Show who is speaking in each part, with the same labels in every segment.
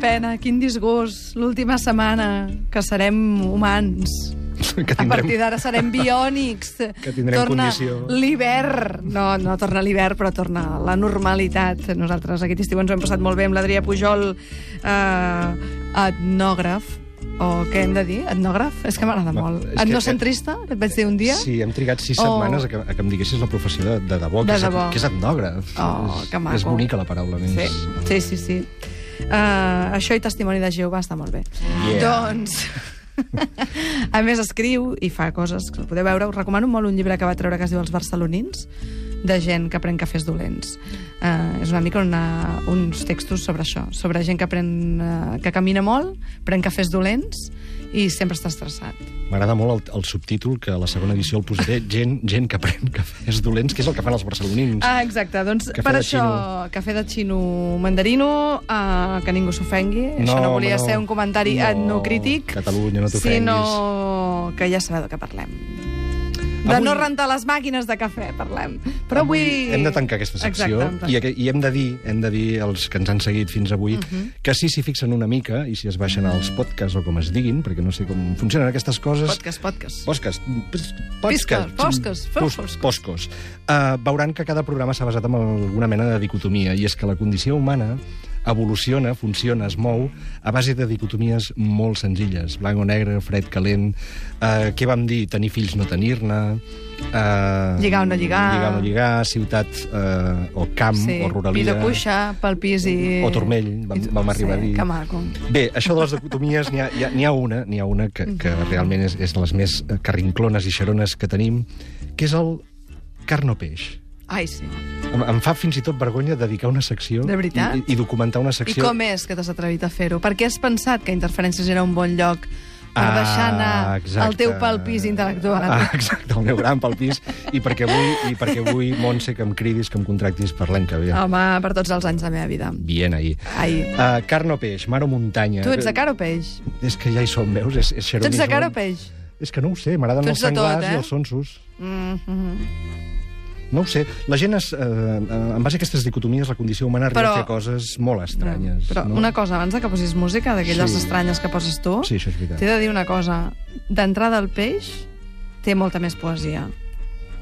Speaker 1: pena, quin disgust, l'última setmana, que serem humans.
Speaker 2: Que
Speaker 1: A
Speaker 2: tindrem...
Speaker 1: partir d'ara serem biònics.
Speaker 2: Que tindrem
Speaker 1: torna
Speaker 2: condició.
Speaker 1: l'hivern. No, no torna l'hivern, però torna la normalitat. Nosaltres aquest estiu ens ho hem passat molt bé amb l'Adrià Pujol, eh, etnògraf, o què hem de dir? Etnògraf? És que m'agrada
Speaker 2: Ma-
Speaker 1: molt.
Speaker 2: és que- eh,
Speaker 1: Etnocentrista, que et vaig dir un dia?
Speaker 2: Sí, hem trigat sis
Speaker 1: Oh.
Speaker 2: setmanes a que, a que em diguessis la professió de, de debò,
Speaker 1: De
Speaker 2: que,
Speaker 1: debò.
Speaker 2: És, que és etnògraf.
Speaker 1: Oh,
Speaker 2: És-
Speaker 1: que maco.
Speaker 2: És bonica la paraula. Més...
Speaker 1: Sí, sí, sí. sí. Uh, això i testimoni de Jehovà està molt bé.
Speaker 2: Yeah.
Speaker 1: Doncs... a més, escriu i fa coses que podeu veure. Us recomano molt un llibre que va treure que es diu Els barcelonins, de gent que pren cafès dolents. Uh, és una mica una, uns textos sobre això, sobre gent que, pren, uh, que camina molt, pren cafès dolents i sempre està estressat.
Speaker 2: M'agrada molt el, el subtítol, que a la segona edició el posaré, gent, gent que pren cafès dolents, que és el que fan els barcelonins.
Speaker 1: Ah, exacte, doncs
Speaker 2: Cafè
Speaker 1: per
Speaker 2: de
Speaker 1: això,
Speaker 2: xino.
Speaker 1: cafè de xino mandarino, eh, que ningú s'ofengui, això
Speaker 2: No,
Speaker 1: no
Speaker 2: home,
Speaker 1: volia
Speaker 2: no.
Speaker 1: ser un comentari
Speaker 2: No,
Speaker 1: etnocrític,
Speaker 2: Catalunya, no t'ofenguis.
Speaker 1: sinó que ja sabeu de què parlem. De
Speaker 2: Avui-
Speaker 1: no rentar les màquines de cafè, parlem. Però avui...
Speaker 2: Avui hem de tancar aquesta secció
Speaker 1: Exacte,
Speaker 2: i, aqu- i hem de dir, hem de dir als que ens han seguit fins avui,
Speaker 1: Mhm.
Speaker 2: que si s'hi fixen una mica i si es baixen als podcasts o com es diguin, perquè no sé com funcionen aquestes coses...
Speaker 1: Podcast, podcast.
Speaker 2: Podcast. pos-
Speaker 1: Piscos, poscos,
Speaker 2: pos-
Speaker 1: foscos.
Speaker 2: Poscos. Uh, veuran que cada programa s'ha basat en alguna mena de dicotomia, i és que la condició humana evoluciona, funciona, es mou a base de dicotomies molt senzilles. Blanc o negre, fred, calent... Uh, què vam dir? Tenir fills, no tenir-ne... Uh,
Speaker 1: Lligar o no lligar.
Speaker 2: Lligar o no lligar, ciutat uh, o camp
Speaker 1: Sí,
Speaker 2: o
Speaker 1: pis
Speaker 2: ruralia...
Speaker 1: a cuixa, pel pis i...
Speaker 2: O turmell, vam,
Speaker 1: i-
Speaker 2: vam arribar
Speaker 1: sí,
Speaker 2: a dir.
Speaker 1: Que maco.
Speaker 2: Bé, això de les dicotomies, n'hi ha, hi ha- n'hi ha una, n'hi ha una que, que
Speaker 1: Mhm.
Speaker 2: realment és, és de les més eh, carrinclones i xarones que tenim, que és el carn o peix.
Speaker 1: Ai, sí.
Speaker 2: Em, em fa fins i tot vergonya dedicar una secció
Speaker 1: De veritat?
Speaker 2: i, i, i documentar una
Speaker 1: I
Speaker 2: secció...
Speaker 1: com és que t'has atrevit a fer-ho? Per què has pensat que Interferències era un bon lloc per
Speaker 2: Ah,
Speaker 1: deixar anar
Speaker 2: exacte.
Speaker 1: el teu palpís intel·lectual?
Speaker 2: Ah, exacte, el meu gran pel pis. I perquè vull, i perquè vull Montse, que em cridis, que em contractis per l'any que ve.
Speaker 1: Home, per tots els anys de la meva vida.
Speaker 2: Bien, ahir.
Speaker 1: Ai,
Speaker 2: Uh, carn o peix, mar o muntanya...
Speaker 1: tu ets de cara o peix?
Speaker 2: És que ja hi som, veus? És,
Speaker 1: Tu
Speaker 2: és
Speaker 1: ets de
Speaker 2: xaronisme.
Speaker 1: cara o peix?
Speaker 2: És que no ho sé, m'agraden
Speaker 1: Tu
Speaker 2: els
Speaker 1: ets de tot,
Speaker 2: senglars
Speaker 1: eh?
Speaker 2: i els sonsos.
Speaker 1: Mm -hmm.
Speaker 2: No ho sé, la gent es, eh, eh, en base a aquestes dicotomies la condició humana arriba
Speaker 1: Però-
Speaker 2: a fer coses molt estranyes.
Speaker 1: Però
Speaker 2: no?
Speaker 1: una cosa, abans de que posis música d'aquelles
Speaker 2: Sí.
Speaker 1: estranyes que poses tu,
Speaker 2: Sí, això és veritat.
Speaker 1: t'he de dir una cosa. D'entrada, el peix té molta més poesia.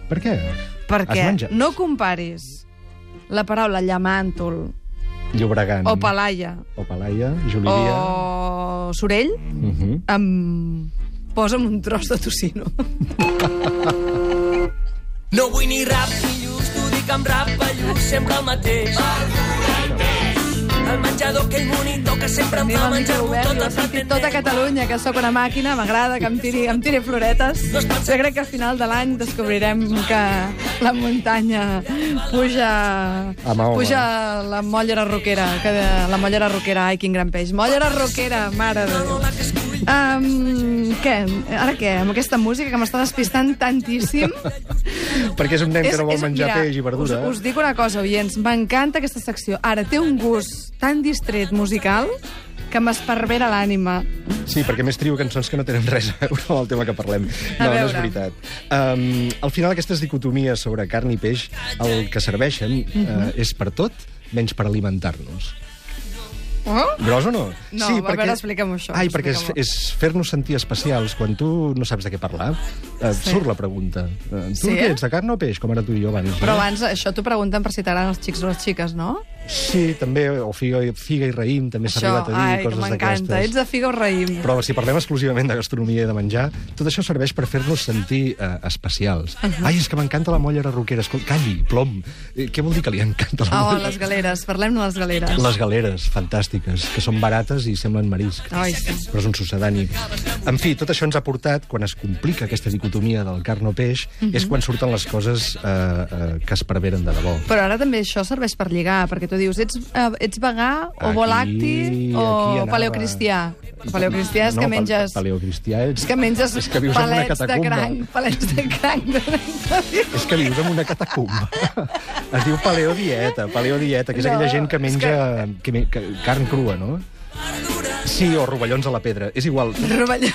Speaker 2: Per què? Has
Speaker 1: Perquè
Speaker 2: menjat?
Speaker 1: no comparis la paraula llamàntol
Speaker 2: Llobregant.
Speaker 1: o palaia
Speaker 2: O Palaia, Jolivia...
Speaker 1: o sorell
Speaker 2: Uh -huh.
Speaker 1: em... posa'm un tros de tocino.
Speaker 3: No vull ni rap ni lluç, t'ho dic amb rap, ballús, sempre el mateix. El menjador, aquell monitor que sempre em
Speaker 1: Anem
Speaker 3: fa
Speaker 1: al micro
Speaker 3: menjar-m'ho
Speaker 1: obert, jo
Speaker 3: tot el
Speaker 1: he
Speaker 3: plat
Speaker 1: sentit tota Catalunya que sóc una màquina, m'agrada que em tiri, em tiri floretes. Jo crec que a final de l'any descobrirem que la muntanya puja,
Speaker 2: A Mahoma.
Speaker 1: puja la mollera roquera, que de, la mollera roquera, ai, quin gran peix. Mollera roquera, mare de Déu. Um, què? Ara què? Amb aquesta música que m'està despistant tantíssim.
Speaker 2: Perquè és un nen que no vol menjar
Speaker 1: mira,
Speaker 2: peix i verdura. eh?
Speaker 1: Us, us dic una cosa, oients, m'encanta aquesta secció. Ara té un gust tan distret musical que m'esparvera l'ànima.
Speaker 2: Sí, perquè més trio cançons que no tenen res a veure amb el tema que parlem.
Speaker 1: A
Speaker 2: No, no
Speaker 1: veure.
Speaker 2: és veritat. Um, al final, aquestes dicotomies sobre carn i peix, el que serveixen
Speaker 1: Mhm.
Speaker 2: uh, és per tot, menys per alimentar-nos.
Speaker 1: Oh?
Speaker 2: Gros o no?
Speaker 1: No, a veure, explica'm això,
Speaker 2: Ai, perquè és,
Speaker 1: explica'm-ho.
Speaker 2: és fer-nos sentir especials quan tu no saps de què parlar. Eh,
Speaker 1: Sí.
Speaker 2: Surt la pregunta. Eh, tu
Speaker 1: Sí, eh?
Speaker 2: què ets, de carn o peix? Com ara tu i jo abans.
Speaker 1: Però
Speaker 2: no?
Speaker 1: abans, això t'ho pregunten per si t'agraden els xics o les xiques, no?
Speaker 2: Sí, també, o figa, i- figa i raïm, també s'ha
Speaker 1: això,
Speaker 2: arribat a dir
Speaker 1: ai, que
Speaker 2: coses
Speaker 1: m'encanta. Ets
Speaker 2: d'aquestes.
Speaker 1: de figa o raïm.
Speaker 2: Però si parlem exclusivament de gastronomia i de menjar, tot això serveix per fer-nos sentir eh, especials. Ai, és que m'encanta la mollera roquera. Escolta, calli, plom. Eh, què vol dir que li encanta la
Speaker 1: Oh,
Speaker 2: mollera?
Speaker 1: les galeres, parlem de les galeres.
Speaker 2: Les galeres, fantàstiques, que són barates i semblen marisc.
Speaker 1: Ai, sí.
Speaker 2: Però és un sucedani. En fi, tot això ens ha portat, quan es complica aquesta dicotomia del carn o peix,
Speaker 1: Mhm.
Speaker 2: és quan surten les coses eh, eh, que es preveren de debò.
Speaker 1: Però ara també això serveix per lligar, perquè tu dius, ets, eh, ets vegà o
Speaker 2: Aquí-
Speaker 1: volacti
Speaker 2: aquí
Speaker 1: o
Speaker 2: anava.
Speaker 1: paleocristià. Paleocristià és
Speaker 2: no,
Speaker 1: que
Speaker 2: pal-
Speaker 1: menges...
Speaker 2: Paleocristià és...
Speaker 1: És que menges
Speaker 2: és que vius en una
Speaker 1: palets de
Speaker 2: catacumba.
Speaker 1: cranc, palets de cranc. De...
Speaker 2: És que vius en una catacumba. es diu paleodieta, paleodieta, que és
Speaker 1: No,
Speaker 2: aquella gent que
Speaker 1: és
Speaker 2: menja que... men- que, carn crua, no? Sí, o rovellons a la pedra. És igual,
Speaker 1: Rovelló.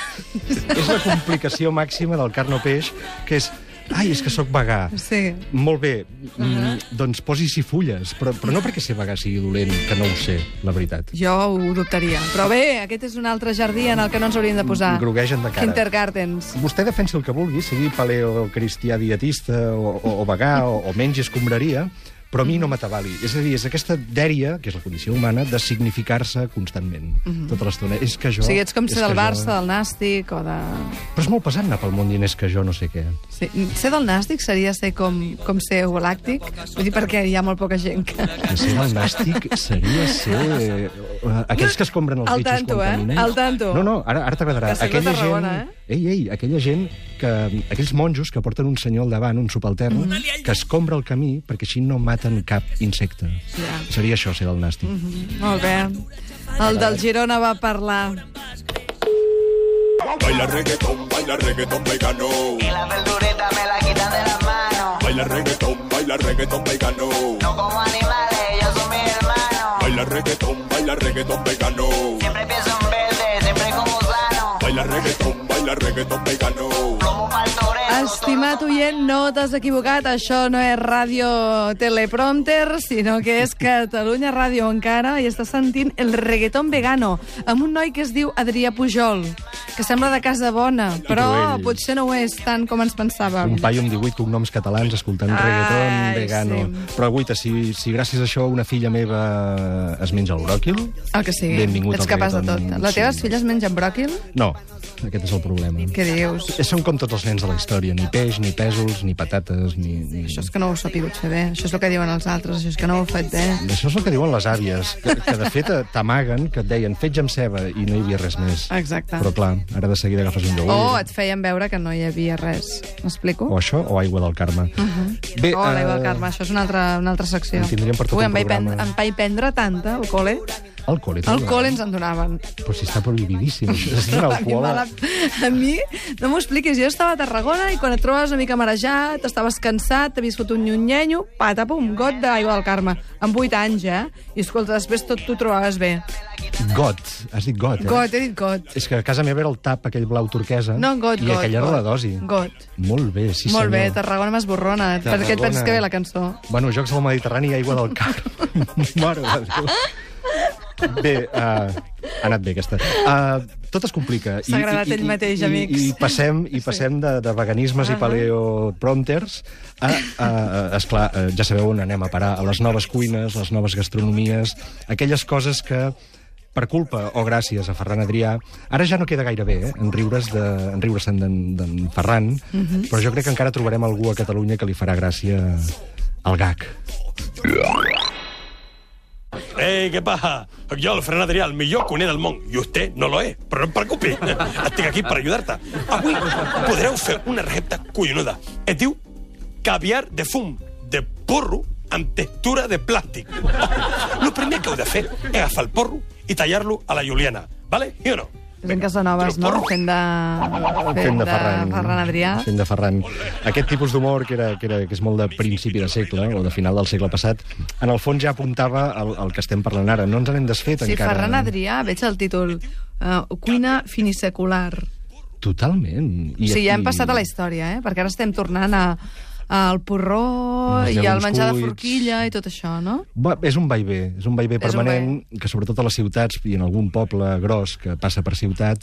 Speaker 2: és la complicació màxima del carn o peix, que és Ai, és que sóc vegà.
Speaker 1: Sí.
Speaker 2: Molt bé, mm, doncs posi-s'hi fulles, però, però no perquè ser vegà sigui dolent, que no ho sé, la veritat.
Speaker 1: Jo ho dubtaria. Però bé, aquest és un altre jardí en el que no ens hauríem de posar.
Speaker 2: Groguegen de cara.
Speaker 1: Kindergartens.
Speaker 2: Vostè defensi el que vulgui, sigui paleocristià dietista o, o, o vegà o, o menys escombraria, però a mi no m'atabali. És a dir, és aquesta dèria, que és la condició humana, de significar-se constantment, tota l'estona. És que
Speaker 1: Mhm.
Speaker 2: jo...
Speaker 1: O sigui, ets com
Speaker 2: és
Speaker 1: ser del
Speaker 2: que jo-
Speaker 1: Barça, del Nàstic o de...
Speaker 2: Però és molt pesant anar pel món dient és que jo no sé què.
Speaker 1: Sí. Ser del Nàstic seria ser com, com ser galàctic? Vull dir, perquè hi ha molt poca gent que...
Speaker 2: Ser del nàstic seria ser... eh, Aquells que escombren els
Speaker 1: Al
Speaker 2: bitxos
Speaker 1: tanto,
Speaker 2: quan
Speaker 1: eh?
Speaker 2: caminen.
Speaker 1: Al tanto.
Speaker 2: No, no, ara, ara t'agradarà.
Speaker 1: Que sóc de Tarragona, eh?
Speaker 2: gent... Ei, ei, aquella gent que... Aquells monjos que porten un senyor al davant, un subaltern,
Speaker 1: Mm.
Speaker 2: que escombra el camí perquè així no maten cap insecte.
Speaker 1: Ja.
Speaker 2: Seria això, ser del nàstic.
Speaker 1: Mm-hmm. Molt bé. El del Girona va parlar.
Speaker 4: Baila reggaetón, baila reggaetón vegano.
Speaker 5: Y la verdurita me la quitan de las manos.
Speaker 4: Baila reggaetón, baila reggaetón vegano.
Speaker 5: No como animales, ellos son mis hermanos.
Speaker 4: Baila reggaetón, baila reggaetón vegano.
Speaker 5: Siempre pienso en verde, siempre como sano.
Speaker 4: Baila reggaetón, baila reggaetón vegano.
Speaker 5: Como paltorero.
Speaker 1: Estimat oient, no t'has equivocat, això no és ràdio teleprompter, sinó que és Catalunya Ràdio encara i està sentint el reggaeton vegano amb un noi que es diu Adrià Pujol, que sembla de casa bona, però
Speaker 2: Cruell.
Speaker 1: potser no ho és tant com ens pensàvem.
Speaker 2: Un paio amb 18 cognoms catalans escoltant
Speaker 1: Ai,
Speaker 2: reggaeton vegano.
Speaker 1: sí.
Speaker 2: Però, guaita, si, si gràcies a això una filla meva es menja el bròquil...
Speaker 1: El Ah, que sigui,
Speaker 2: Benvingut
Speaker 1: ets
Speaker 2: al
Speaker 1: capaç de tot.
Speaker 2: reggaeton,
Speaker 1: Les
Speaker 2: sí.
Speaker 1: teves filles mengen bròquil?
Speaker 2: No, aquest és el problema.
Speaker 1: Què dius?
Speaker 2: Eh, Són com tots els nens de la història, ni peix, ni pèsols, ni patates, ni... ni...
Speaker 1: Això és que no ho he sabut fer bé, això és el que diuen els altres, això és que no ho he fet bé.
Speaker 2: Això és el que diuen les àvies, que, que de fet eh, t'amaguen, que et deien fetge amb ceba i no hi havia res més.
Speaker 1: Exacte.
Speaker 2: Però clar, ara de seguida agafes un iogurt.
Speaker 1: O Oh, et feien veure que no hi havia res. M'explico?
Speaker 2: o això o aigua del Carme. Uh
Speaker 1: Uh-huh.
Speaker 2: -huh. Bé,
Speaker 1: Hola,
Speaker 2: eh,
Speaker 1: Eva Oh, Carme, això és una altra, una altra secció.
Speaker 2: en tindríem per tot
Speaker 1: Ui,
Speaker 2: un
Speaker 1: em vaig
Speaker 2: programa.
Speaker 1: prendre, em vaig prendre tanta, al col·le.
Speaker 2: Alcohol. i tot,
Speaker 1: Al
Speaker 2: eh?
Speaker 1: col·le ens en donaven.
Speaker 2: Però si està prohibidíssim. això. Si és un
Speaker 1: A mi,
Speaker 2: alcohol...
Speaker 1: me la... a mi, no m'ho expliquis, jo estava a Tarragona i quan et trobes una mica marejat, estaves cansat, t'havies fotut un nyunyenyo, pata, pum, got d'aigua del Carme. Amb 8 anys, eh? I escolta, després tot t'ho trobaves bé.
Speaker 2: Got. Has dit got, eh?
Speaker 1: Got, he dit got.
Speaker 2: És que a casa meva era el tap, aquell blau turquesa.
Speaker 1: No, got,
Speaker 2: I
Speaker 1: got.
Speaker 2: aquella era
Speaker 1: got.
Speaker 2: la dosi.
Speaker 1: Got.
Speaker 2: Molt bé, sí
Speaker 1: Molt bé,
Speaker 2: senyor.
Speaker 1: Tarragona m'esborrona. eh? Per què et
Speaker 2: Tarragona.
Speaker 1: penses que ve la cançó?
Speaker 2: Bueno, Jocs del Mediterrani i aigua del car. Mare de Déu. Bé, uh, ha anat bé aquesta. Uh, tot es complica. I-
Speaker 1: S'ha
Speaker 2: i-
Speaker 1: agradat
Speaker 2: i-
Speaker 1: ell mateix,
Speaker 2: i,
Speaker 1: amics.
Speaker 2: I, i passem, i passem de, de veganismes i paleoprompters a, a, a, esclar, eh, ja sabeu on anem a parar, a les noves cuines, les noves gastronomies, aquelles coses que per culpa o gràcies a Ferran Adrià, ara ja no queda gaire bé, eh, en riures de, en riures d'en d'en Ferran,
Speaker 1: Mhm.
Speaker 2: però jo crec que encara trobarem algú a Catalunya que li farà gràcia al gag.
Speaker 6: Ei, Eh, què passa? Sóc jo, el Ferran Adrià, el millor cuiner del món. I vostè no lo és, però no et preocupi. Estic aquí per ajudar-te. Avui podreu fer una recepta collonuda. Es diu caviar de fum de porro amb textura de plàstic. Lo primer que heu de fer és agafar el porro i tallar-lo a la juliana. Vale? I o no?
Speaker 1: És en Casanovas, no?
Speaker 6: Però porro.
Speaker 1: Fent de...
Speaker 2: Fent de Ferran.
Speaker 1: Ferran Adrià.
Speaker 2: Fent de Ferran. Aquest tipus d'humor, que, era, que, era, que és molt de principi de segle, eh, o de final del segle passat, en el fons ja apuntava al, al que estem parlant ara. No ens n'hem desfet
Speaker 1: Sí,
Speaker 2: encara.
Speaker 1: Ferran Adrià, veig el títol. Uh, cuina finisecular.
Speaker 2: Totalment.
Speaker 1: I, o sigui, ja hem passat a la història, eh? Perquè ara estem tornant a, al porró
Speaker 2: Els
Speaker 1: i al
Speaker 2: llegums
Speaker 1: menjar de
Speaker 2: cuits.
Speaker 1: forquilla i tot això, no?
Speaker 2: Va, és un vaivé, és un vaivé
Speaker 1: És un
Speaker 2: permanent que sobretot a les ciutats i en algun poble gros que passa per ciutat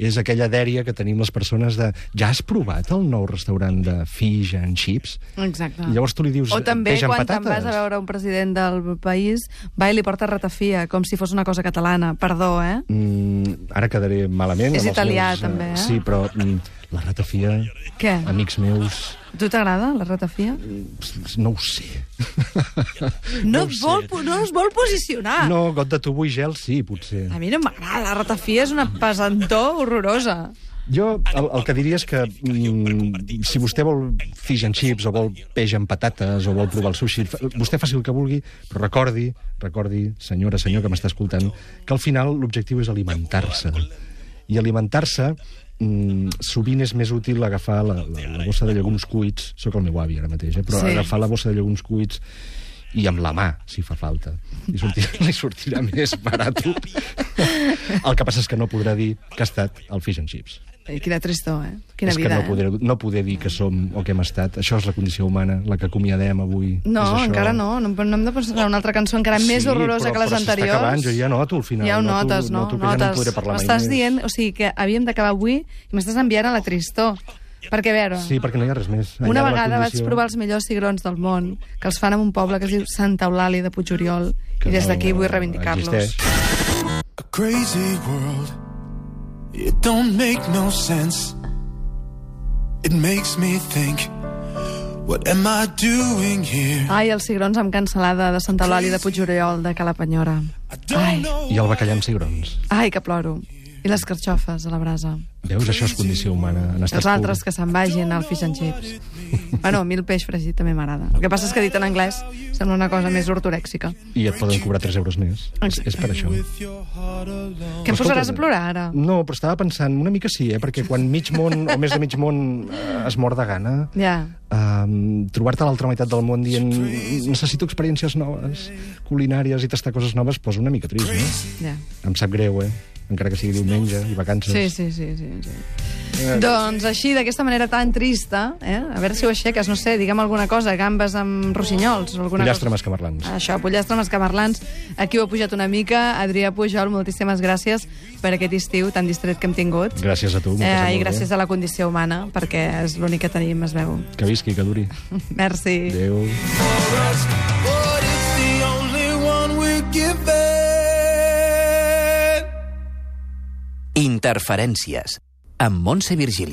Speaker 2: és aquella dèria que tenim les persones de ja has provat el nou restaurant de fish and chips?
Speaker 1: Exacte.
Speaker 2: I llavors tu li dius
Speaker 1: o també
Speaker 2: peix amb
Speaker 1: quan te'n
Speaker 2: patates.
Speaker 1: vas a veure un president del país va i li porta ratafia, com si fos una cosa catalana. Perdó, eh?
Speaker 2: Mm, ara quedaré malament.
Speaker 1: És
Speaker 2: amb els
Speaker 1: italià,
Speaker 2: meus, eh,
Speaker 1: també, eh?
Speaker 2: Sí, però mm, la ratafia,
Speaker 1: Què?
Speaker 2: amics meus,
Speaker 1: A tu t'agrada la ratafia?
Speaker 2: s- no ho sé.
Speaker 1: No,
Speaker 2: ho
Speaker 1: et
Speaker 2: sé.
Speaker 1: vol, po- no es vol posicionar.
Speaker 2: No, got de tubo i gel, sí, potser.
Speaker 1: A mi no m'agrada, la ratafia és una pesantor horrorosa.
Speaker 2: Jo el, el que diria és que mm, si vostè vol fish and chips o vol peix amb patates o vol provar el sushi, fa- vostè faci el que vulgui, però recordi, recordi, senyora, senyor que m'està escoltant, que al final l'objectiu és alimentar-se. I alimentar-se mm, sovint és més útil agafar la, la, la bossa de llegums cuits, sóc el meu avi ara mateix, eh? però
Speaker 1: Sí.
Speaker 2: sí. agafar la bossa de llegums cuits i amb la mà, si fa falta. Li sortirà, li sortirà més barat. El que passa és que no podrà dir que ha estat el fish and chips.
Speaker 1: Eh, Quina tristor, eh? Quina
Speaker 2: és
Speaker 1: vida,
Speaker 2: que no poder,
Speaker 1: eh?
Speaker 2: no poder dir que som o que hem estat. Això és la condició humana, la que acomiadem avui.
Speaker 1: No,
Speaker 2: és això.
Speaker 1: encara no, no, no hem de posar una altra cançó encara més
Speaker 2: Sí,
Speaker 1: horrorosa
Speaker 2: però-
Speaker 1: que les
Speaker 2: però s'està
Speaker 1: anteriors.
Speaker 2: acabant, jo ja noto al final,
Speaker 1: Ja ho
Speaker 2: noto-
Speaker 1: notes, no?
Speaker 2: noto que ja no
Speaker 1: notes.
Speaker 2: podré parlar mai
Speaker 1: M'estàs
Speaker 2: més.
Speaker 1: dient, o sigui, que havíem d'acabar avui i m'estàs enviant a la tristor. Perquè, a veure,
Speaker 2: Sí, perquè no hi ha res més.
Speaker 1: Una
Speaker 2: Allà la
Speaker 1: vegada vaig
Speaker 2: condició-
Speaker 1: provar els millors cigrons del món, que els fan en un poble que es diu Santa Eulàlia de Puigoriol,
Speaker 2: que
Speaker 1: i des
Speaker 2: no
Speaker 1: d'aquí vull reivindicar-los.
Speaker 2: existeix.
Speaker 7: A crazy world. It don't make no sense. It makes me think, what am I doing here?
Speaker 1: Ai, els cigrons amb cansalada de Santa Eulàlia de Puigoriol, de Calapenyora.
Speaker 7: I don't know.
Speaker 2: I el bacallà amb cigrons.
Speaker 1: Ai, que ploro. I les carxofes a la brasa.
Speaker 2: Veus, això és condició humana. En estat
Speaker 1: Els altres
Speaker 2: pur.
Speaker 1: que se'n vagin al fish and chips. bueno, a mi el peix fregit també m'agrada. El que passa és que dit en anglès sembla una cosa més ortorèxica.
Speaker 2: I et poden cobrar 3 euros més. És, és per això.
Speaker 1: Què em
Speaker 2: Escolta,
Speaker 1: posaràs a plorar ara?
Speaker 2: No, però estava pensant, una mica sí, eh? perquè quan mig món o més de mig món eh, es mor de gana,
Speaker 1: Ja.
Speaker 2: um, trobar-te a l'altra meitat del món dient necessito experiències noves, culinàries i tastar coses noves, posa una mica trist, no?
Speaker 1: Ja.
Speaker 2: Em sap greu, eh? Encara que sigui diumenge i vacances.
Speaker 1: Sí, sí, sí, sí. sí.
Speaker 2: Eh.
Speaker 1: Doncs així, d'aquesta manera tan trista, eh? a veure si ho aixeques, no sé, diguem alguna cosa, gambes amb rossinyols. o Alguna
Speaker 2: Pollastre
Speaker 1: cosa.
Speaker 2: amb
Speaker 1: Ah,
Speaker 2: escamarlans.
Speaker 1: Això, pollastre amb escamarlans. Aquí ho ha pujat una mica. Adrià Pujol, moltíssimes gràcies per aquest estiu tan distret que hem tingut.
Speaker 2: Gràcies a tu, m'ho he passat
Speaker 1: Eh, I
Speaker 2: molt
Speaker 1: gràcies
Speaker 2: bé.
Speaker 1: a la condició humana, perquè és l'únic que tenim, es veu.
Speaker 2: Que visqui, que duri.
Speaker 1: Merci.
Speaker 2: Adéu.
Speaker 7: But it's the only one we're given.
Speaker 8: Interferències amb Montse Virgili.